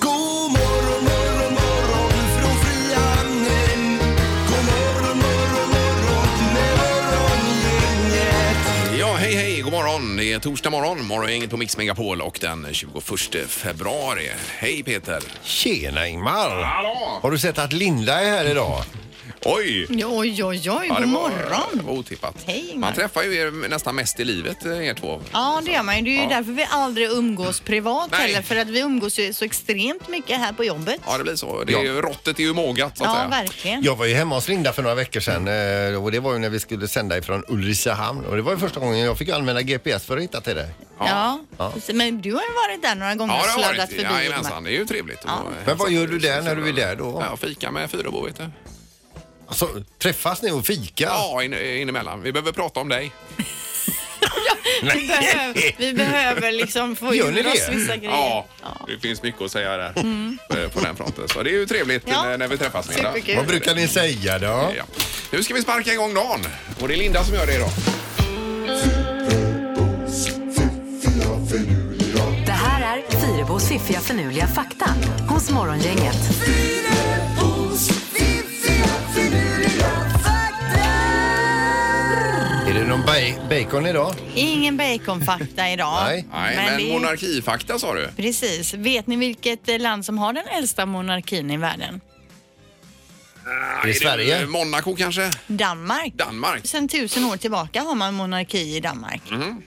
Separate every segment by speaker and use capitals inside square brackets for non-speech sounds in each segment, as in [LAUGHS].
Speaker 1: God morgon morgon morgon från Frihamnen. God morgon morgon morgon med morgongänget.
Speaker 2: Ja, hej hej, god morgon. Det är torsdag morgon, morgongänget på Mix Megapol och den 21 februari. Hej Peter!
Speaker 3: Tjena Ingmar!
Speaker 2: Hallå!
Speaker 3: Har du sett att Linda är här idag?
Speaker 2: Oj!
Speaker 4: Oj, oj, oj, god
Speaker 2: var-
Speaker 4: morgon!
Speaker 2: Var otippat.
Speaker 4: Hej, Ingmar.
Speaker 2: Man träffar ju er nästan mest i livet, eh, er två.
Speaker 4: Ja, det gör man ju. Det är ju
Speaker 2: Ja.
Speaker 4: därför vi aldrig umgås privat
Speaker 2: Nej.
Speaker 4: heller, för att vi umgås ju så extremt mycket här på jobbet.
Speaker 2: Ja, det blir så. Det är ju, råttet är ju mågat så att
Speaker 4: Ja,
Speaker 2: säga.
Speaker 4: verkligen.
Speaker 3: Jag var ju hemma hos Linda för några veckor sedan eh, och det var ju när vi skulle sända ifrån Ulricehamn och det var ju första gången jag fick använda GPS för att hitta till dig.
Speaker 4: Ja. precis. Men du har ju varit där några gånger
Speaker 2: Ja,
Speaker 4: och
Speaker 2: det har
Speaker 4: sladdat
Speaker 2: varit.
Speaker 4: förbi.
Speaker 2: Jajamensan,
Speaker 4: Ingmar.
Speaker 2: det är ju trevligt. Och, eh,
Speaker 3: Men vad
Speaker 2: så-
Speaker 3: gör du där när du är där då?
Speaker 2: Ja, fika med Fyrebo, vet du.
Speaker 3: Alltså, träffas ni och fika?
Speaker 2: Ja, in, in emellan. Vi behöver prata om dig.
Speaker 4: vi, behöver, vi behöver liksom få
Speaker 3: Gör ni
Speaker 4: ur oss
Speaker 3: det?
Speaker 4: vissa grejer.
Speaker 2: Ja, det finns mycket att säga där eh, på den fronten. Så det är ju trevligt
Speaker 4: Mm.
Speaker 2: eh,
Speaker 4: Ja.
Speaker 2: när, när vi träffas. Linda.
Speaker 4: Superkul.
Speaker 3: Vad brukar ni säga då?
Speaker 2: Ja. Nu ska vi sparka igång dagen och det är Linda som gör det idag.
Speaker 5: Det här är Fyrabos fiffiga förnuliga fakta hos Morgongänget.
Speaker 1: Fyrabos fiffiga finurliga fakta.
Speaker 3: Är det någon ba- bacon idag?
Speaker 4: Ingen baconfakta idag.
Speaker 3: Nej.
Speaker 2: Nej, men,
Speaker 4: vi-
Speaker 2: monarkifakta sa du.
Speaker 4: Precis. Vet ni vilket eh, land som har den äldsta monarkin i världen?
Speaker 3: I
Speaker 2: Är det
Speaker 3: Sverige?
Speaker 2: Monaco kanske?
Speaker 4: Danmark.
Speaker 2: Danmark?
Speaker 4: Sen tusen år tillbaka har man monarki i Danmark.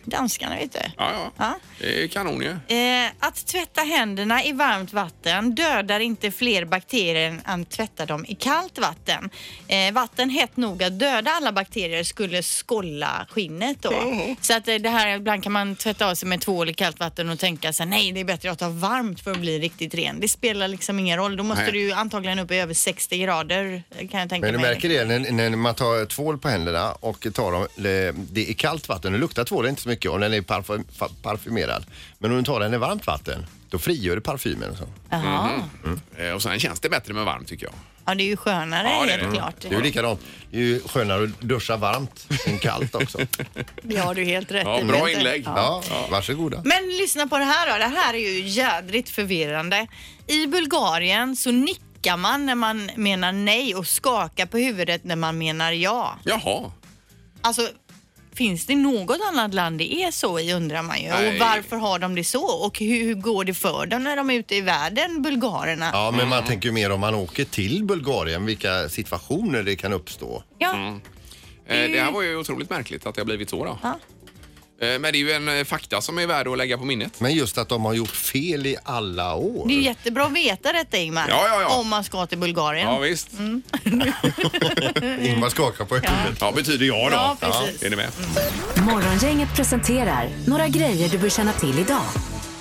Speaker 4: Danskarna vet du.
Speaker 2: Ja, ja.
Speaker 4: Ja.
Speaker 2: Det är kanon ju.
Speaker 4: Eh, att tvätta händerna i varmt vatten dödar inte fler bakterier än att tvätta dem i kallt vatten. Eh, vatten hett nog att döda alla bakterier skulle skolla skinnet då. Så att eh, det här, ibland kan man tvätta av sig med tvål i kallt vatten och tänka sig nej det är bättre att ta varmt för att bli riktigt ren. Det spelar liksom ingen roll. Då måste
Speaker 2: Nej.
Speaker 4: du ju antagligen upp i över 60 grader eh, kan jag tänka
Speaker 3: Men du
Speaker 4: mig.
Speaker 3: märker det när, när man tar tvål på händerna och tar dem, det är kallt vatten, då luktar tvålen inte så mycket och den är parfym, fa- parfymerad. Men om du tar den i varmt vatten, då frigör det parfymen och så.
Speaker 4: Jaha.
Speaker 2: Eh, Och sen känns det bättre med varmt tycker jag.
Speaker 4: Ja, det är ju skönare
Speaker 2: Ja, det är
Speaker 4: helt
Speaker 2: det.
Speaker 4: klart.
Speaker 3: Det är ju likadant. Det är ju skönare att duscha varmt än kallt också.
Speaker 4: Ja, du är helt rätt
Speaker 2: Ja,
Speaker 4: i,
Speaker 2: bra
Speaker 4: Peter.
Speaker 2: inlägg.
Speaker 3: Ja, varsågoda.
Speaker 4: Men lyssna på det här då. Det här är ju jädrigt förvirrande. I Bulgarien så nickar man när man menar nej och skakar på huvudet när man menar ja.
Speaker 2: Jaha.
Speaker 4: Alltså, finns det något annat land det är så i undrar man ju.
Speaker 2: Nej.
Speaker 4: Och varför har de det så? Och hur, hur går det för dem när de är ute i världen, bulgarerna?
Speaker 3: Ja, men man tänker ju mer om man åker till Bulgarien, vilka situationer det kan uppstå.
Speaker 4: Ja.
Speaker 2: Eh, Det här var ju otroligt märkligt att det har blivit så då.
Speaker 4: Ja.
Speaker 2: Eh, Men det är ju en eh, fakta som är värd att lägga på minnet.
Speaker 3: Men just att de har gjort fel i alla år.
Speaker 4: Det är ju jättebra att veta detta Ingmar.
Speaker 2: Ja, ja, ja.
Speaker 4: Om man ska till Bulgarien.
Speaker 2: Ja, visst.
Speaker 3: Ingvar skakar på huvudet.
Speaker 2: Ja, betyder jag då.
Speaker 4: Ja, precis.
Speaker 2: Är ni med?
Speaker 5: Morgongänget presenterar några grejer du bör känna till idag.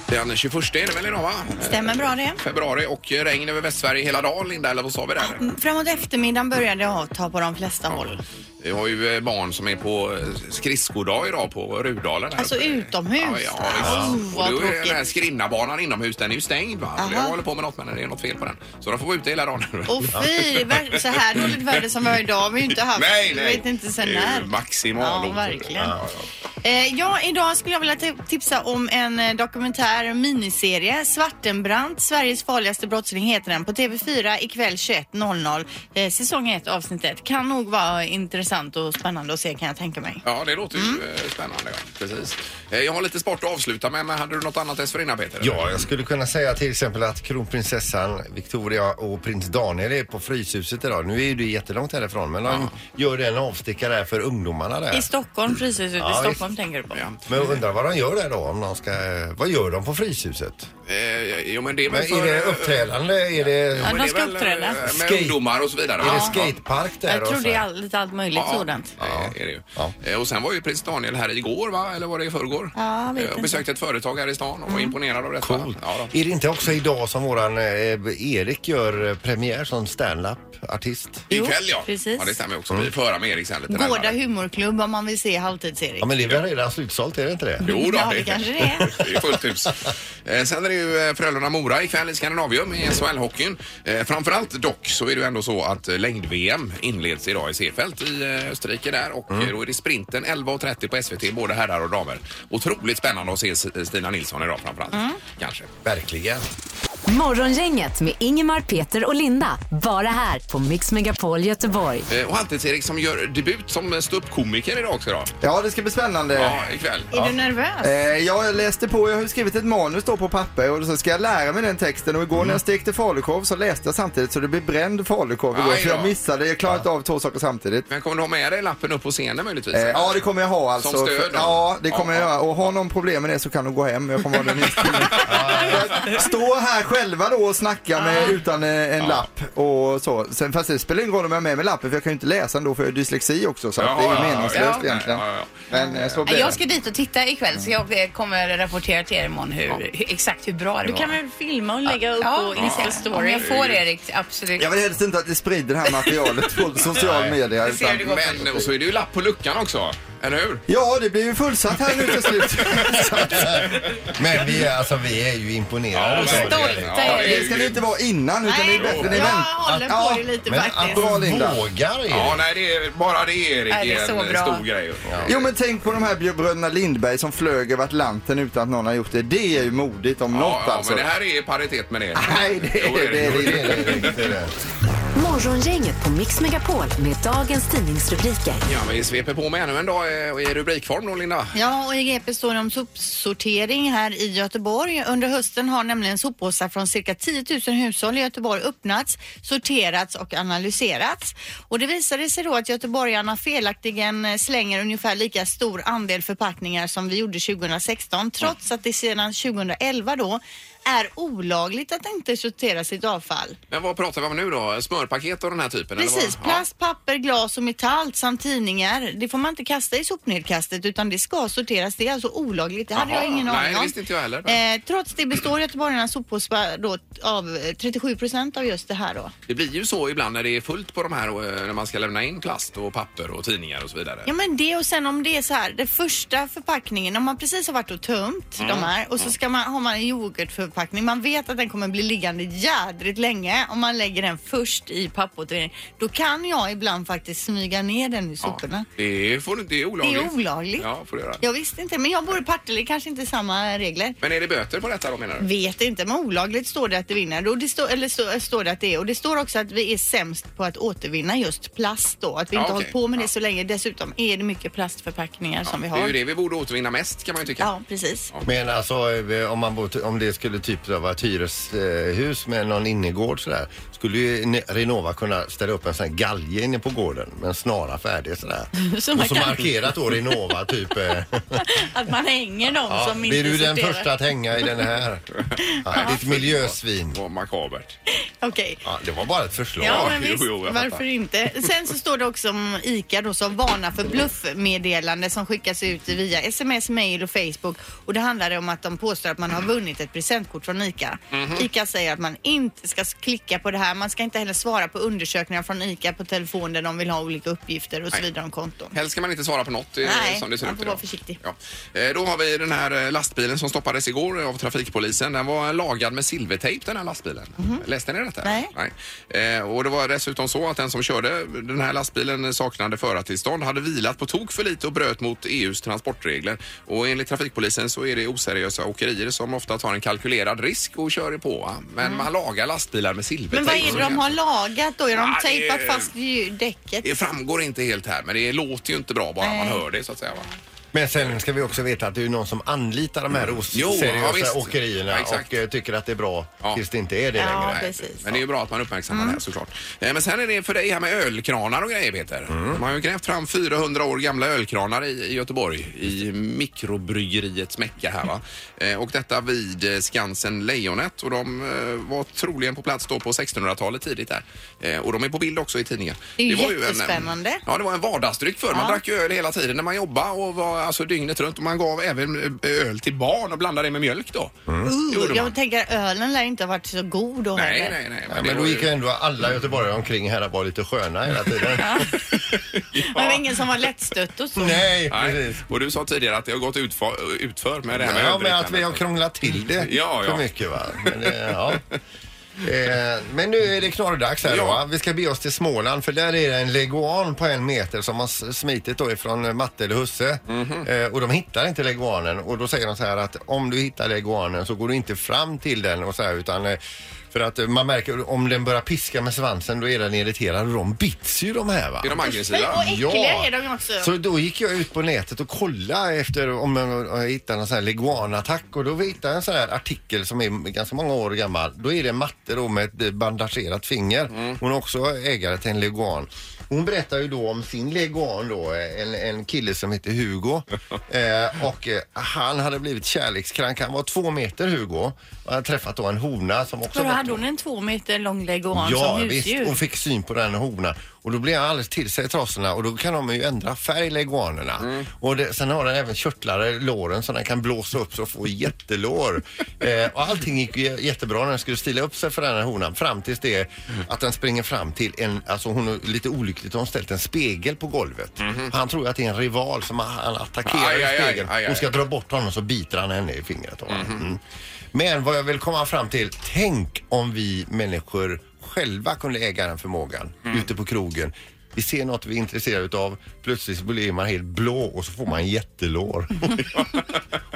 Speaker 2: Den 21 är det väl idag va?
Speaker 4: Stämmer bra det?
Speaker 2: Februari och eh, regn över Västsverige hela dagen Linda, eller vad sa vi där?
Speaker 4: Framåt eftermiddagen börjar det avta på de flesta håll.
Speaker 2: Vi har ju eh, barn som är på eh, skridskodag idag på Rudalen. här
Speaker 4: Alltså
Speaker 2: uppe.
Speaker 4: utomhus?
Speaker 2: Ja, ja,
Speaker 4: Ah,
Speaker 2: visst.
Speaker 4: vad
Speaker 2: Och då är den här
Speaker 4: tråkigt.
Speaker 2: skrinnabanan inomhus, den är ju stängd va?
Speaker 4: Aha.
Speaker 2: Det håller på med något men det är något fel på den. Så de får vara ute hela dagen.
Speaker 4: Åh fy, det var- så här dåligt väder som vi har idag har vi ju inte haft.
Speaker 2: nej,
Speaker 4: Jag
Speaker 2: nej.
Speaker 4: vet inte sen
Speaker 2: Det är
Speaker 4: när.
Speaker 2: ju maximal
Speaker 4: Ja,
Speaker 2: dos.
Speaker 4: verkligen.
Speaker 2: Ja, ja.
Speaker 4: Eh, ja, idag skulle jag vilja ti- tipsa om en eh, dokumentär och miniserie. Svartenbrandt, Sveriges farligaste brottsling heter den. På TV4 ikväll 21.00. Eh, säsong 1 avsnitt 1. Kan nog vara intressant och spännande att se kan jag tänka mig.
Speaker 2: [LAUGHS] Ja, det låter ju
Speaker 4: Mm.
Speaker 2: eh, spännande. Ja. Precis. Eh, Jag har lite sport att avsluta med, men hade du något annat dessförinnan Peter?
Speaker 3: Ja, jag skulle kunna säga till exempel att kronprinsessan Victoria och prins Daniel är på Fryshuset idag. Nu är ju det jättelångt härifrån men de gör en avstickare där för ungdomarna där.
Speaker 4: I Stockholm, Fryshuset
Speaker 3: Ja,
Speaker 4: i
Speaker 3: visst.
Speaker 4: Stockholm tänker du på.
Speaker 2: Ja.
Speaker 3: Men jag undrar vad de gör där då? Om de ska, vad gör de på Fryshuset?
Speaker 2: Eh, Jo, men det är väl
Speaker 3: Men
Speaker 2: för...
Speaker 3: är det uppträdande? Är det,
Speaker 4: Ja,
Speaker 2: men
Speaker 4: de
Speaker 2: det är
Speaker 4: ska
Speaker 2: väl, eh,
Speaker 4: uppträda.
Speaker 2: Med
Speaker 3: Skate.
Speaker 2: ungdomar och så vidare.
Speaker 3: är det
Speaker 2: va? Ja.
Speaker 3: skatepark där?
Speaker 4: Jag tror
Speaker 3: och så
Speaker 4: det är
Speaker 3: här?
Speaker 4: all- allt möjligt sådant.
Speaker 2: Ja, det är det ju.
Speaker 3: Ja.
Speaker 2: Eh, Och sen var ju prins Daniel här igår, va? eller var det i förrgår?
Speaker 4: Ja, jag
Speaker 2: Eh,
Speaker 4: vet
Speaker 2: och
Speaker 4: inte. Mm.
Speaker 2: besökte ett företag här i stan och var imponerad av detta.
Speaker 3: Coolt.
Speaker 2: Ja, då.
Speaker 3: Är det inte också idag som våran eh, Erik gör eh, premiär som standup-artist?
Speaker 4: Jo,
Speaker 2: Ikväll ja.
Speaker 4: precis.
Speaker 3: Mm.
Speaker 2: ja, det stämmer också. Vi får höra med Erik sen lite
Speaker 4: Gårda
Speaker 2: närmare.
Speaker 4: humorklubb om man vill se halvtids-Erik.
Speaker 3: Ja men det är väl redan slutsålt, är det inte det?
Speaker 2: Jo då,
Speaker 4: Ja, det kanske det är.
Speaker 2: [LAUGHS] det är fullt hus. Eh, Sen är det ju eh, Frölunda-Mora ikväll i Skandinavium i SHL-hockeyn. Eh, Framförallt dock så är det ju ändå så att eh, längd-VM inleds idag i Seefeld i eh, Österrike där och
Speaker 3: Mm.
Speaker 2: eh, då är det sprinten 11.30 på SVT, både herrar och damer. Otroligt spännande att se S- Stina Nilsson idag framförallt.
Speaker 4: Mm.
Speaker 2: Kanske.
Speaker 3: Verkligen.
Speaker 5: Morgongänget med Ingemar, Peter och Linda. Bara här på Mix Megapol Göteborg.
Speaker 2: Eh, Och Halvtids-Erik som gör debut som ståuppkomiker idag också då.
Speaker 6: Ja, det ska bli spännande.
Speaker 2: Ja, ikväll.
Speaker 4: Är du nervös?
Speaker 6: Eh, jag läste på, jag har ju skrivit ett manus då på papper och så ska jag lära mig den texten och igår
Speaker 2: Mm.
Speaker 6: när jag stekte falukorv så läste jag samtidigt så det blev bränd falukorv igår
Speaker 2: Aj
Speaker 6: för
Speaker 2: då.
Speaker 6: jag missade, jag klarade inte av två saker samtidigt.
Speaker 2: Men kommer du ha med dig lappen upp på scenen möjligtvis?
Speaker 6: Eh, ja det kommer jag ha alltså.
Speaker 2: Som stöd
Speaker 6: För-
Speaker 2: då?
Speaker 6: Ja det kommer
Speaker 2: Ja,
Speaker 6: jag göra och har någon problem med det så kan de gå hem, jag kommer vara den
Speaker 2: [LAUGHS]
Speaker 6: inställningen. Jag Stå här själva då och snacka med, utan eh, en lapp och så. Sen, fast det spelar ingen roll om jag har med mig lappen för jag kan ju inte läsa ändå för jag har dyslexi också så att det är ju meningslöst
Speaker 2: ja.
Speaker 6: egentligen.
Speaker 2: Ja, ja,
Speaker 6: Men eh, så blir det.
Speaker 7: Jag ska dit och titta ikväll så jag eh, kommer rapportera till er imorgon hur, hur, exakt hur bra det
Speaker 4: Du
Speaker 7: var.
Speaker 4: kan väl filma och lägga upp på Insta
Speaker 7: Om
Speaker 4: story?
Speaker 7: jag får Erik, absolut.
Speaker 6: Jag vill helst inte att ni sprider det här materialet
Speaker 2: [LAUGHS]
Speaker 6: på social media.
Speaker 7: ser
Speaker 6: Utan...
Speaker 7: du gott.
Speaker 2: Men, och så är det ju lapp på luckan också, eller hur?
Speaker 6: Ja, det blir ju fullsatt här nu till slut. Så att-
Speaker 3: Men vi är, alltså, vi är ju imponerade.
Speaker 2: Ja,
Speaker 3: av det.
Speaker 2: verkligen.
Speaker 7: Stolta
Speaker 2: [LAUGHS] Ja,
Speaker 7: är
Speaker 6: Det ska ni inte vara innan, utan ni är bättre. Ni
Speaker 4: jag
Speaker 6: vänt-
Speaker 4: håller på
Speaker 6: Ja,
Speaker 4: det lite
Speaker 3: Men att
Speaker 4: faktiskt.
Speaker 6: Bra,
Speaker 3: du
Speaker 6: Linda.
Speaker 3: vågar Erik.
Speaker 2: Ja, nej, det är bara det Erik
Speaker 7: Nej, det är
Speaker 2: är
Speaker 7: så
Speaker 2: en
Speaker 7: bra.
Speaker 2: stor grej.
Speaker 6: Jo men tänk på de här bröderna Lindberg som flög över Atlanten utan att någon har gjort det. Det är ju modigt om
Speaker 2: Ja,
Speaker 6: något
Speaker 2: ja,
Speaker 6: alltså.
Speaker 2: men det här är i paritet med det.
Speaker 6: [LAUGHS] Nej, det
Speaker 2: Jo,
Speaker 6: är det.
Speaker 2: Jo,
Speaker 6: är-
Speaker 3: Det är det, det är det.
Speaker 5: Morgongänget på Mix Megapol med dagens tidningsrubriker.
Speaker 2: Ja, men vi sveper på med ännu en dag eh, i rubrikform då, Linda.
Speaker 4: Ja, och i GP står det om sopsortering här i Göteborg. Under hösten har nämligen soppåsar från cirka 10 000 hushåll i Göteborg öppnats, sorterats och analyserats. Och det visade sig då att göteborgarna felaktigen eh, slänger ungefär lika stor andel förpackningar som vi gjorde 2016, trots att det sedan 2011 då är olagligt att inte sortera sitt avfall.
Speaker 2: Men vad pratar vi om nu då? Smörpaket och den här typen? eller
Speaker 4: Precis,
Speaker 2: vad?
Speaker 4: plast, papper, glas och metall samt tidningar. Det får man inte kasta i sopnedkastet utan det ska sorteras. Det är alltså olagligt. Det hade
Speaker 2: Jaha,
Speaker 4: jag ingen
Speaker 2: nej,
Speaker 4: aning
Speaker 2: det
Speaker 4: om.
Speaker 2: visste inte jag heller.
Speaker 4: Eh, trots det består göteborgarnas soppåsar då av eh, 37 procent av just det här då.
Speaker 2: Ja. Det blir ju så ibland när det är fullt på de här och, eh, när man ska lämna in plast och papper och tidningar och så vidare.
Speaker 4: Ja men det och sen om det är så här, den första förpackningen, om man precis har varit och tömt
Speaker 2: Mm.
Speaker 4: de här och så ska man, har man en yoghurtförpackning, man vet att den kommer bli liggande jädrigt länge om man lägger den först i pappåtervinning. Då kan jag ibland faktiskt smyga ner den i
Speaker 2: Ja,
Speaker 4: soporna.
Speaker 2: det, får, du- det är
Speaker 4: Det
Speaker 2: olagligt.
Speaker 4: är olagligt.
Speaker 2: Ja, får du göra.
Speaker 4: Jag visste inte, men jag bor i Partille, kanske inte samma regler.
Speaker 2: Men är det böter på detta då menar du?
Speaker 4: Vet inte, men olagligt står det att det vinner. Och det står, eller så, står det att det är. Och det står också att vi är sämst på att återvinna just plast då. Att vi
Speaker 2: Ja,
Speaker 4: inte har
Speaker 2: okej.
Speaker 4: hållit på med
Speaker 2: Ja.
Speaker 4: det så länge. Dessutom är det mycket plastförpackningar som vi
Speaker 2: Det är
Speaker 4: har.
Speaker 2: ju det vi borde återvinna mest kan man ju tycka.
Speaker 4: Ja, precis.
Speaker 3: Men alltså eh, om, man bor, om det skulle typ vara ett hyreshus eh, med någon innergård sådär. Skulle ju Ne- Renova kunna ställa upp en sån här galge inne på gården med en snara färdig
Speaker 4: [LAUGHS]
Speaker 3: sådär.
Speaker 4: Så man
Speaker 3: och så
Speaker 4: kan-
Speaker 3: markerat då Renova typ.
Speaker 4: [LAUGHS]
Speaker 3: eh,
Speaker 4: Att man hänger dem
Speaker 3: ja,
Speaker 4: som inte
Speaker 3: blir du den
Speaker 4: sorterar.
Speaker 3: första att hänga i den
Speaker 4: [LAUGHS]
Speaker 3: här? Ja, ditt miljösvin.
Speaker 2: Vad makabert.
Speaker 4: Okej.
Speaker 3: Ja, det var bara ett förslag.
Speaker 4: Ja,
Speaker 2: Ja,
Speaker 4: men
Speaker 2: jo,
Speaker 4: visst,
Speaker 2: jo, jag
Speaker 4: varför
Speaker 2: fattar.
Speaker 4: inte? Sen så står det också om ICA då som varnar för bluffmeddelande som skickas ut via sms, mail och Facebook. Och det handlar om att de påstår att man har vunnit ett presentkort från ICA.
Speaker 2: Mhm.
Speaker 4: ICA säger att man inte ska klicka på det här. Man ska inte heller svara på undersökningar från ICA på telefon där de vill ha olika uppgifter och så
Speaker 2: Nej.
Speaker 4: vidare om konton.
Speaker 2: Helst ska man inte svara på något eh,
Speaker 4: Nej,
Speaker 2: som det ser
Speaker 4: man
Speaker 2: ut
Speaker 4: får
Speaker 2: idag.
Speaker 4: vara försiktig.
Speaker 2: Ja. Eh, Då har vi den här eh, lastbilen som stoppades igår av trafikpolisen. Den var lagad med silvertejp den här lastbilen. Läste ni detta?
Speaker 4: Mhm. Nej.
Speaker 2: Eh, Och det var dessutom så att den som körde den här lastbilen saknade förartillstånd, hade vilat på tok för lite och bröt mot EUs transportregler. Och enligt trafikpolisen så är det oseriösa åkerier som ofta tar en kalkylerad risk och kör på. va? Men man lagar lastbilar med
Speaker 4: Mm. Men
Speaker 2: silvertejp.
Speaker 4: vad är det de har lagat då? Har de
Speaker 2: Ja, det är-
Speaker 4: tejpat fast ju- däcket?
Speaker 2: Det framgår inte helt här, men det låter ju inte bra bara man
Speaker 4: Nej.
Speaker 2: hör det så att säga. Va?
Speaker 3: Men sen ska vi också veta att det är ju någon som anlitar de här
Speaker 2: Mm. Jo, ja,
Speaker 3: oseriösa
Speaker 2: visst.
Speaker 3: åkerierna
Speaker 2: Ja, exakt.
Speaker 3: och eh, tycker att det är bra
Speaker 2: Ja.
Speaker 3: tills det inte är det
Speaker 4: Ja.
Speaker 3: längre.
Speaker 4: precis. Mm.
Speaker 2: Men det är ju bra att man uppmärksammar det här såklart. Eh, Men sen är det för dig här med ölkranar och grejer Peter.
Speaker 3: Mm.
Speaker 2: De har ju grävt fram 400 år gamla ölkranar i, i Göteborg i mikrobryggeriets Mecka här va. Eh, Och detta vid eh, Skansen Lejonet och de eh, var troligen på plats då på 1600-talet tidigt där. Eh, Och de är på bild också i tidningen.
Speaker 4: Det är ju
Speaker 2: en, eh,
Speaker 4: jättespännande.
Speaker 2: ja, det var en vardagsdryck förr. Man
Speaker 4: Ja.
Speaker 2: drack ju öl hela tiden när man jobbade och var alltså dygnet runt. Och man gav även eh, öl till barn och blandade det med mjölk då. Gjorde
Speaker 4: Uh,
Speaker 2: man.
Speaker 4: jag tänker ölen lär inte ha varit så god då
Speaker 2: Nej,
Speaker 4: heller.
Speaker 2: nej, nej.
Speaker 3: Ja,
Speaker 2: det
Speaker 3: men då
Speaker 2: var
Speaker 3: gick
Speaker 2: ju-
Speaker 3: ändå alla göteborgare omkring här och var lite sköna
Speaker 2: [LAUGHS]
Speaker 3: hela tiden.
Speaker 4: Men det var ingen som var lättstött och
Speaker 3: [LAUGHS]
Speaker 4: så.
Speaker 3: Nej,
Speaker 2: Nej.
Speaker 3: precis.
Speaker 2: Och du sa tidigare att det har gått utför, utför med det här med
Speaker 3: Ja, men att vi har
Speaker 2: öldrickandet.
Speaker 3: krånglat till det
Speaker 2: Mm. Ja, ja.
Speaker 3: för mycket va. Men, eh, ja. Eh, men nu är det knorrdags här
Speaker 2: Ja.
Speaker 3: då. va? Vi ska bege oss till Småland för där är det en leguan på en meter som har s- smitit då ifrån eh, Matte eller Husse.
Speaker 2: Mhm.
Speaker 3: eh, och de hittar inte leguanen och då säger de så här att om du hittar leguanen så går du inte fram till den och så här utan eh, för att eh, man märker om den börjar piska med svansen då är den irriterad och de bits ju de här va.
Speaker 2: Är de
Speaker 4: Men, och
Speaker 2: aggressiva?
Speaker 4: äckliga är de ju också.
Speaker 3: Så då gick jag ut på nätet och kollade efter om jag, om jag hittade någon sån här leguanattack och då hittade jag en sån här artikel som är ganska många år gammal. Då är det Matte då med ett bandagerat finger. Hon är också ägare till en leguan. Hon berättar ju då om sin leguan då, en, en kille som heter Hugo. Eh, och eh, han hade blivit kärlekskrank. Han var två meter Hugo. Och hade träffat då en hona som också
Speaker 7: Då
Speaker 3: var
Speaker 7: hade hon en två meter lång leguan som husdjur.
Speaker 3: och fick syn på den honan. Och då blev han alldeles till sig i trasorna och då kan de ju ändra färg, leguanerna.
Speaker 2: Mm.
Speaker 3: Och det, sen har den även körtlar i låren som den kan blåsa upp så och få jättelår.
Speaker 2: [LAUGHS]
Speaker 3: eh, och allting gick ju jättebra när den skulle stila upp sig för den här honan fram tills det att den springer fram till en, alltså hon är lite olyckligt, har hon ställt en spegel på golvet. Han tror ju att det är en rival som han attackerar
Speaker 2: Mhm. Aj,
Speaker 3: i
Speaker 2: aj, aj,
Speaker 3: spegeln.
Speaker 2: aj, aj.
Speaker 3: Hon ska dra bort honom så biter han henne i fingret. då, va?
Speaker 2: Mhm.
Speaker 3: Mm. Men vad jag vill komma fram till, tänk om vi människor själva kunde äga den förmågan
Speaker 2: Mm.
Speaker 3: ute på krogen. Vi ser något vi är intresserade utav, plötsligt blir man helt blå och så får
Speaker 2: [LAUGHS]
Speaker 3: man jättelår.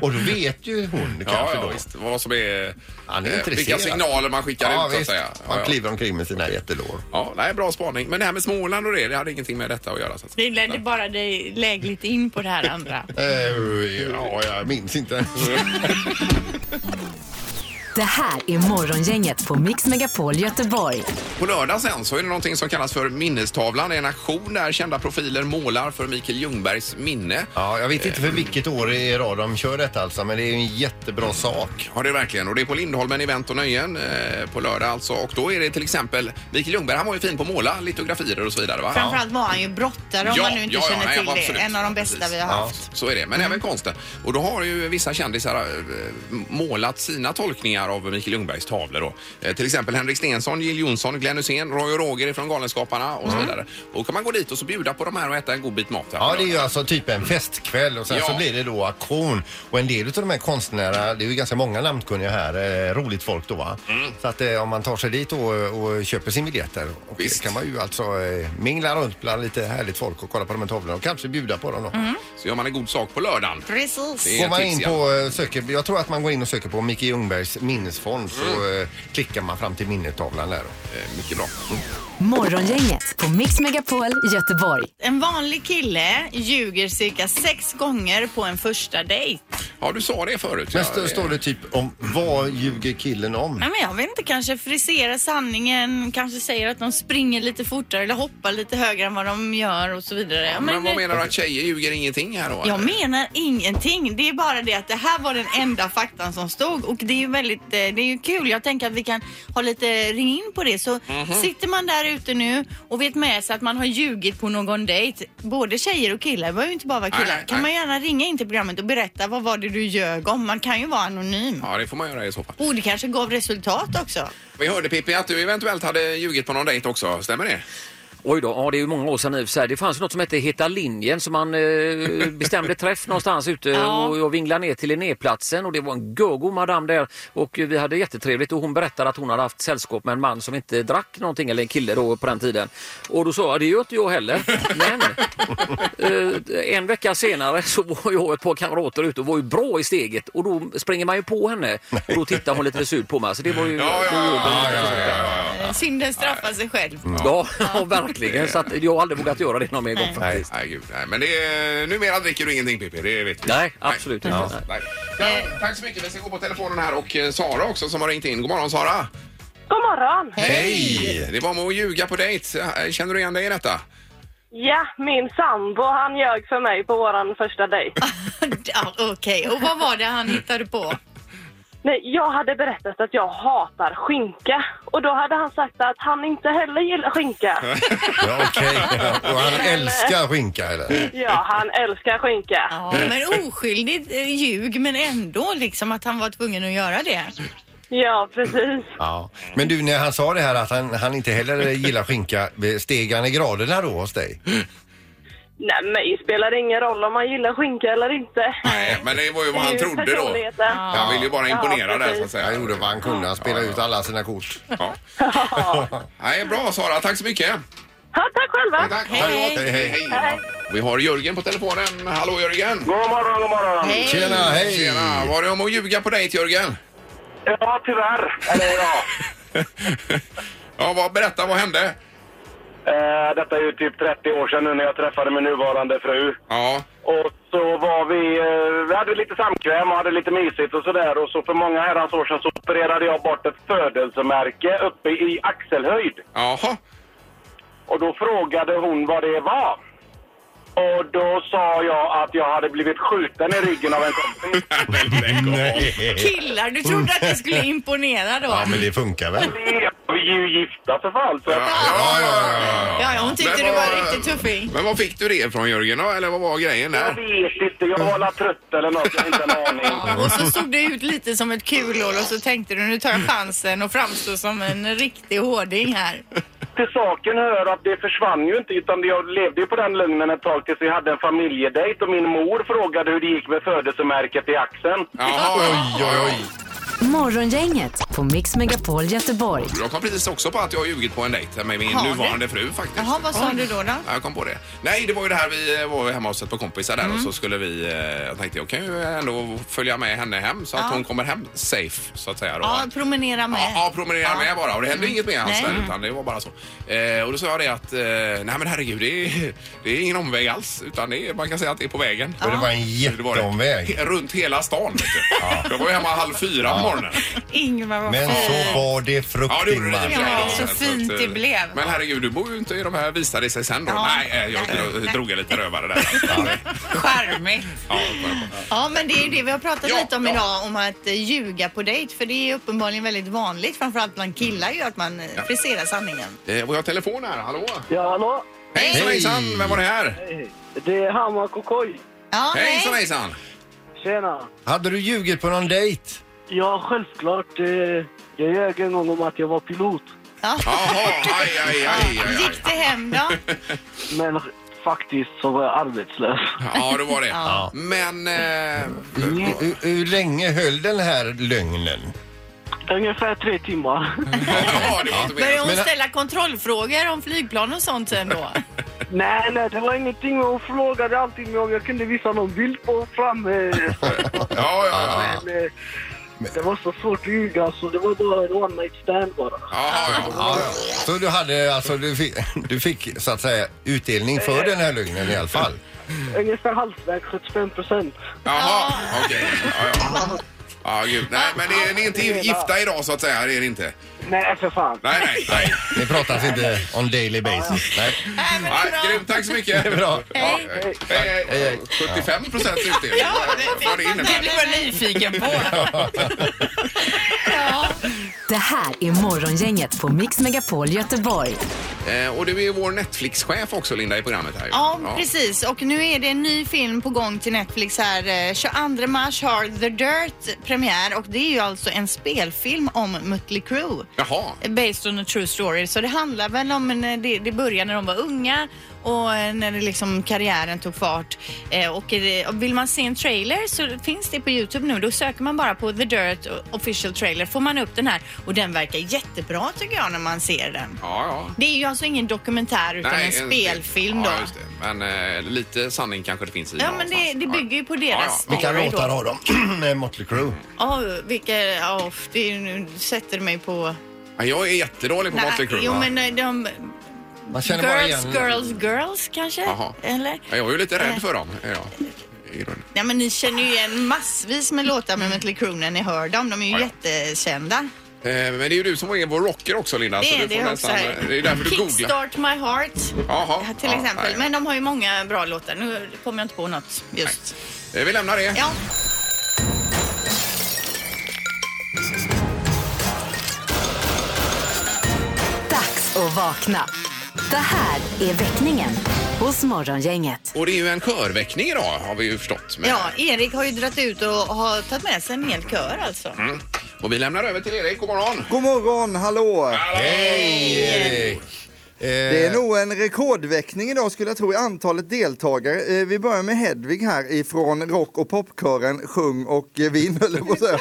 Speaker 3: och då vet ju hon
Speaker 2: Ja,
Speaker 3: kanske
Speaker 2: ja,
Speaker 3: då.
Speaker 2: visst. Vad som är...
Speaker 3: Han är
Speaker 2: eh,
Speaker 3: intresserad.
Speaker 2: vilka signaler man skickar
Speaker 3: ja,
Speaker 2: ut, så att
Speaker 3: visst.
Speaker 2: säga. Ja,
Speaker 3: Man
Speaker 2: ja.
Speaker 3: kliver omkring med sina jättelår.
Speaker 2: Ja, nej, bra spaning. Men det här med Småland och det, det hade ingenting med detta att göra. Så att säga.
Speaker 4: Det ledde bara dig lägligt in på det här andra.
Speaker 3: Eh, ja, jag
Speaker 2: [LAUGHS]
Speaker 3: minns inte.
Speaker 5: Det här är Morgongänget på Mix Megapol Göteborg.
Speaker 2: På lördag sen så är det någonting som kallas för Minnestavlan. Det är en auktion där kända profiler målar för Mikael Ljungbergs minne.
Speaker 3: Ja, jag vet inte för vilket år i rad de kör detta alltså, men det är ju en jättebra sak.
Speaker 2: Ja, det är verkligen. Och det är på Lindholmen Event och Nöjen eh, på lördag alltså. Och då är det till exempel Mikael Ljungberg, han var ju fin på att måla litografier och så vidare va?
Speaker 4: [LAUGHS] Framförallt var han ju brottare om
Speaker 2: Ja,
Speaker 4: man nu inte
Speaker 2: ja, ja,
Speaker 4: känner
Speaker 2: nej,
Speaker 4: till det.
Speaker 2: absolut.
Speaker 4: En av de bästa
Speaker 2: Precis.
Speaker 4: vi har haft. Mm.
Speaker 2: Så är det, men även konsten. Och då har ju vissa kändisar eh, målat sina tolkningar av Mikael Ljungbergs tavlor. Då. Eh, till exempel Henrik Stenson, Jill Johnson, Glenn Hussein, Roy och Roger från Galenskaparna och
Speaker 4: Mm.
Speaker 2: så vidare. Och kan man gå dit och så bjuda på de här och äta en god bit mat. Här
Speaker 3: Ja, det är ju alltså typ en festkväll och sen
Speaker 2: Ja.
Speaker 3: så blir det då auktion. Och en del av de här konstnärerna, det är ju ganska många namnkunniga här, eh, roligt folk då va.
Speaker 2: Mm.
Speaker 3: Så att eh, om man tar sig dit och, och köper sin biljett där och
Speaker 2: Visst.
Speaker 3: kan man ju alltså eh, mingla runt bland lite härligt folk och kolla på de här tavlorna och kanske bjuda på dem då.
Speaker 2: Så gör man en god sak på lördagen.
Speaker 4: Precis.
Speaker 2: Det är
Speaker 3: Går man
Speaker 2: Mm. tips,
Speaker 3: in
Speaker 2: ja.
Speaker 3: på, eh, söker, jag tror att man går in och söker på Micke Ljungbergs minnesfond så
Speaker 2: Mm.
Speaker 3: eh, klickar man fram till minnetavlan där. Då.
Speaker 2: Eh, mycket bra.
Speaker 5: Morgongänget på Mix Megapol Göteborg.
Speaker 4: En vanlig kille ljuger cirka sex gånger på en första dejt.
Speaker 2: Ja, du sa det förut.
Speaker 3: Men
Speaker 2: ja. eh,
Speaker 3: stå- står det typ om vad ljuger
Speaker 2: [LAUGHS]
Speaker 3: killen om?
Speaker 4: Nej, men jag vet inte, kanske friserar sanningen, kanske säger att de springer lite fortare eller hoppar lite högre än vad de gör och så vidare. Ja,
Speaker 2: Men vad menar du att tjejer ljuger ingenting här då?
Speaker 4: Jag
Speaker 2: eller?
Speaker 4: menar ingenting. Det är bara det att det här var den enda faktan som stod och det är ju väldigt, eh, det är ju kul. Jag tänker att vi kan ha lite ring in på det. Så
Speaker 2: Mhm.
Speaker 4: sitter man där ute nu och vet med sig att man har ljugit på någon dejt, både tjejer och killar, det behöver ju inte bara vara
Speaker 2: Nej,
Speaker 4: killar,
Speaker 2: nej, nej.
Speaker 4: kan man gärna ringa in till programmet och berätta vad var det du ljög om? Man kan ju vara anonym.
Speaker 2: Ja, det får man göra i så fall.
Speaker 4: Och det kanske gav resultat också. Eh,
Speaker 2: Vi hörde Pippi att du eventuellt hade ljugit på någon dejt också, stämmer det?
Speaker 8: Oj då, ja, det är ju många år sedan nu. Så här, det fanns ju något som hette Heta linjen som man eh, bestämde träff någonstans ute
Speaker 4: Ja.
Speaker 8: och jag vinglade ner till Linnéplatsen och det var en gogo madam där och vi hade jättetrevligt och hon berättade att hon hade haft sällskap med en man som inte drack någonting eller en kille då på den tiden. Och då sa jag, det gör inte jag
Speaker 2: [LAUGHS]
Speaker 8: heller. Men eh, en vecka senare så var jag och ett par kamrater ute och var ju bra i steget och då springer man ju på henne och då tittar hon lite surt på mig. Så det var ju...
Speaker 2: Ja, ja, ja, ja, ja, ja, ja.
Speaker 4: Eh, Synden straffar sig själv.
Speaker 2: Mm.
Speaker 4: [LAUGHS]
Speaker 8: Ja, ja, [LAUGHS] verkligen. Så att jag har aldrig vågat göra det någon mer gång faktiskt.
Speaker 2: Nej, nej, gud, nej. Men det är, numera dricker du ingenting Pippi, det vet vi.
Speaker 8: Nej, absolut
Speaker 2: Nej.
Speaker 8: inte.
Speaker 2: Nej. Ja, tack så mycket. Vi ska gå på telefonen här och eh, Sara också som har ringt in. God morgon Sara!
Speaker 9: God morgon!
Speaker 2: Hej! Det var med att ljuga på dejt. Eh, Känner du igen dig i detta?
Speaker 9: Ja, min sambo han ljög för mig på våran första dejt.
Speaker 4: Ja, Okej, och vad var det han hittade på?
Speaker 9: Nej, jag hade berättat att jag hatar skinka. Och då hade han sagt att han inte heller gillar skinka.
Speaker 2: [LAUGHS]
Speaker 3: Ja, Okej, ja. och han älskar skinka eller?
Speaker 9: Ja, han älskar skinka.
Speaker 4: Ja, men oskyldigt eh, ljug, men ändå liksom att han var tvungen att göra det.
Speaker 9: Ja, precis.
Speaker 3: Ja. Men du, när han sa det här att han, han inte heller gillar skinka, steg han i graderna då hos dig?
Speaker 9: Nej, men det spelar ingen roll om man gillar skinka eller inte.
Speaker 2: Nej, men det var ju vad han
Speaker 9: Det är ju
Speaker 2: trodde då.
Speaker 9: personligheten.
Speaker 2: Han ville ju bara imponera
Speaker 9: Ja,
Speaker 2: där så
Speaker 9: precis.
Speaker 2: att säga.
Speaker 3: Han gjorde vad han kunde, han spelade ut alla sina kort.
Speaker 2: Ja. [LAUGHS] Nej, bra Sara, tack så mycket.
Speaker 9: Ja, tack själva.
Speaker 2: Tack. Hej, hej, hej. Vi har Jörgen på telefonen. Hallå Jörgen! God
Speaker 10: morgon, god morgon!
Speaker 2: Hej.
Speaker 3: Tjena, hej.
Speaker 2: Tjena! Var det om att ljuga på dig Jörgen? [LAUGHS]
Speaker 10: Ja, tyvärr. Eller ja.
Speaker 2: ja, vad, berätta, vad hände?
Speaker 10: Eh, detta är ju typ 30 år sedan nu när jag träffade min nuvarande fru.
Speaker 2: Ja.
Speaker 10: Och så var vi, eh, vi hade lite samkväm och hade lite mysigt och sådär. Och så för många herrans år sedan så opererade jag bort ett födelsemärke uppe i axelhöjd.
Speaker 2: Jaha.
Speaker 10: Och då frågade hon vad det var. Och då sa jag att jag hade blivit skjuten i ryggen av en kompis.
Speaker 4: Killar, du trodde att det skulle imponera då?
Speaker 3: [LAUGHS] Ja, men det funkar väl?
Speaker 10: Vi är ju gifta för fan. Så.
Speaker 4: Ja, ja, hon tyckte
Speaker 2: Men
Speaker 4: du var
Speaker 2: vad-
Speaker 4: riktigt tuffing.
Speaker 2: Men var fick du det ifrån Jörgen då? Eller vad var grejen
Speaker 10: Jag
Speaker 2: där?
Speaker 10: vet inte, jag var alla trött eller något. Jag har inte en
Speaker 4: [LAUGHS]
Speaker 10: [LAUGHS] aning.
Speaker 4: Och så såg det ut lite som ett kulhål och så tänkte du nu tar jag chansen och framstår som en riktig hårding här.
Speaker 10: Till saken hör att det försvann ju inte utan jag levde ju på den lögnen ett tag tills vi hade en familjedejt och min mor frågade hur det gick med födelsemärket i axeln.
Speaker 2: Oj, oj, oj.
Speaker 5: Morgongänget på Mix Megapol Göteborg.
Speaker 2: Jag kom precis också på att jag har ljugit på en dejt med min
Speaker 5: Har du?
Speaker 2: nuvarande fru faktiskt.
Speaker 4: Jaha, vad sa du då? då?
Speaker 2: Ja, jag kom på det. Nej, det var ju det här vi eh, var hemma hos ett par kompisar där
Speaker 4: Mm.
Speaker 2: och så skulle vi, eh, jag tänkte jag kan ju ändå följa med henne hem så att
Speaker 4: Ja.
Speaker 2: hon kommer hem safe så att säga. Då.
Speaker 4: Ja, promenera med.
Speaker 2: Ja, promenera med bara och det hände inget med hans
Speaker 4: Nej.
Speaker 2: där utan det var bara så. Eh, och då sa jag det att, eh, nej men herregud det är, det är ingen omväg alls utan det är, man kan säga att det är på vägen.
Speaker 3: Men det var en jätteomväg.
Speaker 2: He- Runt hela stan. Vet du. Jag var ju hemma halv fyra på morgonen.
Speaker 4: Ingmar var
Speaker 3: Men så var det frukt,
Speaker 2: Ja, det gjorde det i och för sig.
Speaker 4: Ja, så fint
Speaker 2: att,
Speaker 4: det
Speaker 2: eh,
Speaker 4: blev.
Speaker 2: Men herregud, du bor ju inte i de här visade det sig sen då.
Speaker 4: Ja.
Speaker 2: Nej, eh, jag dro- drog en liten rövare
Speaker 4: [LAUGHS]
Speaker 2: där.
Speaker 4: charmigt.
Speaker 2: Ja,
Speaker 4: Ja, men det är ju det vi har pratat
Speaker 2: Ja,
Speaker 4: lite om
Speaker 2: ja.
Speaker 4: idag, om att eh, ljuga på dejt. För det är uppenbarligen väldigt vanligt, framförallt bland killar, ju att man eh, friserar sanningen.
Speaker 2: Eh, Vi har telefon här, hallå?
Speaker 10: Ja, hallå?
Speaker 2: Hejsan
Speaker 10: Hej.
Speaker 2: hejsan, vem var det här?
Speaker 10: Det är Hammar Kokoj.
Speaker 4: Ja,
Speaker 2: Hejsan hejsan.
Speaker 10: Tjena.
Speaker 3: Hade du ljugit på någon dejt?
Speaker 10: Ja, självklart. eh, Jag ljög en gång om att jag var pilot.
Speaker 4: Ja.
Speaker 2: Jaha, aj, aj, aj, aj, aj.
Speaker 4: Gick det
Speaker 2: [LAUGHS]
Speaker 4: hem då?
Speaker 10: Men faktiskt så var jag arbetslös. [LAUGHS]
Speaker 2: Ja, det var det.
Speaker 3: Ja.
Speaker 2: Men... Eh, [LAUGHS]
Speaker 3: Hur, hur, hur länge höll den här lögnen?
Speaker 10: Ungefär tre timmar.
Speaker 4: Började hon ställa kontrollfrågor om flygplan och
Speaker 2: [LAUGHS]
Speaker 4: sånt sen då?
Speaker 10: Nej, nej, det var ingenting. Hon frågade alltid mig om jag kunde visa någon bild på fram. eh,
Speaker 2: Ja, ja, ja.
Speaker 10: Men, eh, det var så svårt att ljuga, så det var bara en one night stand bara.
Speaker 3: Så du hade alltså, du fick, du fick så att säga utdelning för den här lögnen i alla fall?
Speaker 10: Ungefär halvvägs, 75 procent.
Speaker 2: Jaha, okej. Ja, ja. Ja, gud. Nej, men ni, ni är inte gifta idag så att säga, det är ni inte.
Speaker 10: Nej, för fan.
Speaker 2: Nej, nej, nej.
Speaker 3: Det pratas inte on daily basis. Nej.
Speaker 2: nej grymt, tack så mycket.
Speaker 3: Det är bra.
Speaker 2: Ja, Hej, hej. 75 procents utdelning. Vad det innebär.
Speaker 4: blev jag nyfiken på.
Speaker 5: Det här är Morgongänget på Mix Megapol Göteborg.
Speaker 2: Eh, Och du är vår Netflix-chef också, Linda, i programmet här. ju.
Speaker 4: Ja, precis. Och nu är det en ny film på gång till Netflix här. Eh, 22 mars har The Dirt premiär och det är ju alltså en spelfilm om Mötley Crüe.
Speaker 2: Jaha.
Speaker 4: Eh, Based on a true story. Så det handlar väl om när det, det började när de var unga och eh, när det liksom karriären tog fart. Eh, och, är det- och vill man se en trailer så finns det på Youtube nu. Då söker man bara på The Dirt official trailer får man upp den här och den verkar jättebra tycker jag när man ser den.
Speaker 2: Ja, ja.
Speaker 4: Det är ju alltså ingen dokumentär utan
Speaker 2: Nej,
Speaker 4: en spelfilm då.
Speaker 2: Ja, just det. Men eh, lite sanning kanske det finns i
Speaker 4: Ja,
Speaker 2: någon.
Speaker 4: men det, det bygger ju på deras story
Speaker 3: Vilka låtar
Speaker 4: då.
Speaker 3: har de [CLEARS THROAT] med Motley Crue?
Speaker 4: Ja, vilka... ja, det är ju nu du sätter mig på...
Speaker 2: Ja, Jag är jättedålig på Motley Crue.
Speaker 4: jo,
Speaker 2: va?
Speaker 4: men eh, de...
Speaker 3: Man känner bara
Speaker 4: Girls,
Speaker 3: igen-
Speaker 4: girls, girls kanske?
Speaker 2: Jaha.
Speaker 4: Eller?
Speaker 2: Ja, Jag är ju lite
Speaker 4: Eh.
Speaker 2: rädd för dem. är jag.
Speaker 4: Nej, men ni känner ju igen massvis med låtar med Mötley Crüe när ni hör dem. De är ju
Speaker 2: Ja, ja.
Speaker 4: jättekända.
Speaker 2: Eh, Men det är ju du som är vår rocker också, Linda.
Speaker 4: det
Speaker 2: så
Speaker 4: är
Speaker 2: Alltså, du får
Speaker 4: det också.
Speaker 2: nästan, eh, det är därför du googlar.
Speaker 4: Kickstart My Heart,
Speaker 2: Jaha.
Speaker 4: till
Speaker 2: Ja,
Speaker 4: exempel.
Speaker 2: nej.
Speaker 4: Men de har ju många bra låtar. Nu kommer jag inte på något just.
Speaker 2: Eh, Vi lämnar det.
Speaker 4: Ja.
Speaker 5: Vakna. Det här är väckningen hos Morgongänget.
Speaker 2: Och det är ju en körväckning idag har vi ju förstått. Men...
Speaker 4: Ja, Erik har ju dragit ut och har tagit med sig en hel kör alltså.
Speaker 2: Mm. Och vi lämnar över till Erik. God morgon!
Speaker 6: God morgon, hallå!
Speaker 2: Hej!
Speaker 6: Erik. Det är nog en rekordväckning idag skulle jag tro i antalet deltagare. Eh, Vi börjar med Hedvig här ifrån rock och popkören Sjung och eh, vin höll jag på att säga.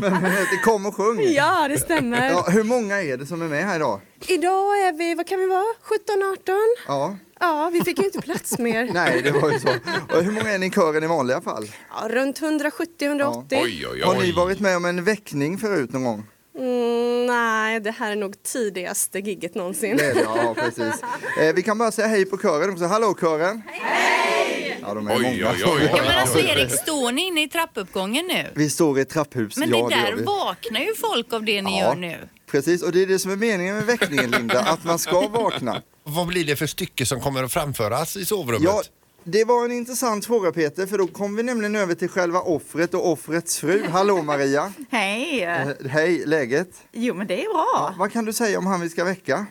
Speaker 6: Men eh, det kom och sjung.
Speaker 11: Ja, det stämmer.
Speaker 6: Ja, hur många är det som är med här idag?
Speaker 11: Idag är vi, vad kan vi vara, 17, 18?
Speaker 6: Ja.
Speaker 11: Ja, vi fick ju inte plats mer.
Speaker 6: Nej, det var ju så. Och hur många är ni i kören i vanliga fall?
Speaker 11: Ja, runt 170, 180.
Speaker 6: Har ni varit med om en väckning förut någon gång?
Speaker 11: Mm, nej, det här är nog tidigaste gigget någonsin.
Speaker 6: Det är det, ja, precis. Eh, vi kan bara säga hej på kören också. Hallå kören! Hej! Ja, de är många.
Speaker 4: Ja, men alltså Erik, står ni inne i trappuppgången nu?
Speaker 6: Vi står i ett trapphus.
Speaker 4: Men
Speaker 6: ja,
Speaker 4: det
Speaker 6: gör
Speaker 4: där
Speaker 6: vi.
Speaker 4: vaknar ju folk av det ni
Speaker 6: Ja.
Speaker 4: gör nu.
Speaker 6: Precis, och det är det som är meningen med väckningen Linda, att man ska vakna.
Speaker 3: Vad blir det för stycke som kommer att framföras i sovrummet?
Speaker 6: Ja, det var en intressant fråga Peter, för då kom vi nämligen över till själva offret och offrets fru. Hallå Maria!
Speaker 12: Hej!
Speaker 6: Eh, Hej, läget?
Speaker 12: Jo, men det är bra.
Speaker 6: Vad kan du säga om han vi ska väcka?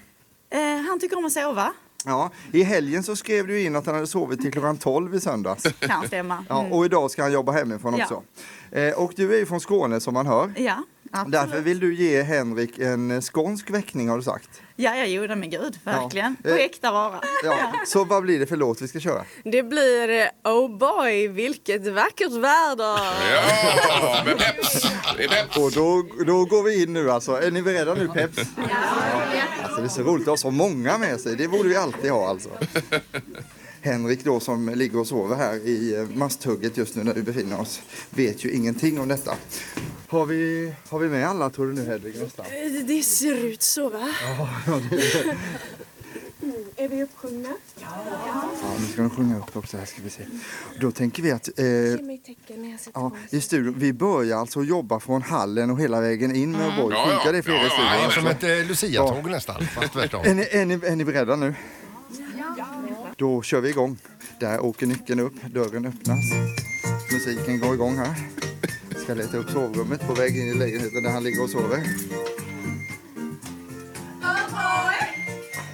Speaker 12: Eh, han tycker om att sova.
Speaker 6: Ja, i helgen så skrev du in att han hade sovit till klockan 12 i söndags.
Speaker 12: Kan stämma.
Speaker 6: [LAUGHS] Ja,
Speaker 12: Mm.
Speaker 6: och idag ska han jobba hemifrån
Speaker 12: Ja.
Speaker 6: också. Eh, Och du är ju från Skåne som man hör.
Speaker 12: Ja, absolut.
Speaker 6: Därför vill du ge Henrik en eh, skånsk väckning har du sagt.
Speaker 12: Ja, jag gjorde men gud, verkligen.
Speaker 6: Ja.
Speaker 12: På
Speaker 6: Eh,
Speaker 12: äkta vara. [LAUGHS]
Speaker 6: Ja. Så vad blir det för låt vi ska köra?
Speaker 11: Det blir eh, Oh boy, vilket vackert väder!
Speaker 2: Ja, med peps! Det är peps.
Speaker 6: Och då, då går vi in nu alltså. Är ni beredda nu Peps? Ja. Alltså det är så roligt att ha så många med sig. Det borde vi alltid ha alltså. Henrik då som ligger och sover här i eh, masthugget just nu när vi befinner oss vet ju ingenting om detta. Har vi, har vi med alla tror du nu Hedvig? Nästan?
Speaker 11: Eh, Det ser ut så va?
Speaker 6: Ja, det är det.
Speaker 11: Mm, Är vi uppsjungna?
Speaker 6: Ja, nu ska de sjunga upp också. Här ska vi se. Då tänker vi att... eh,
Speaker 11: Ge mig tecken när jag sätter
Speaker 6: Ja,
Speaker 11: på mig.
Speaker 6: i studion. Vi börjar alltså jobba från hallen och hela vägen in med
Speaker 3: Mm.
Speaker 6: O'boy.
Speaker 3: Ja, ja.
Speaker 6: Funkar det för er i
Speaker 3: Ja, ja,
Speaker 6: studion?
Speaker 3: ja,
Speaker 6: alltså?
Speaker 3: som ett, eh, Lucia-tåg
Speaker 6: Ja.
Speaker 3: nästan, fast
Speaker 6: [LAUGHS]
Speaker 3: tvärtom.
Speaker 6: Är ni, är, ni, är ni beredda nu? Då kör vi igång. Där åker nyckeln upp, dörren öppnas. Musiken går igång här. Ska leta upp sovrummet på väg in i lägenheten där han ligger och sover.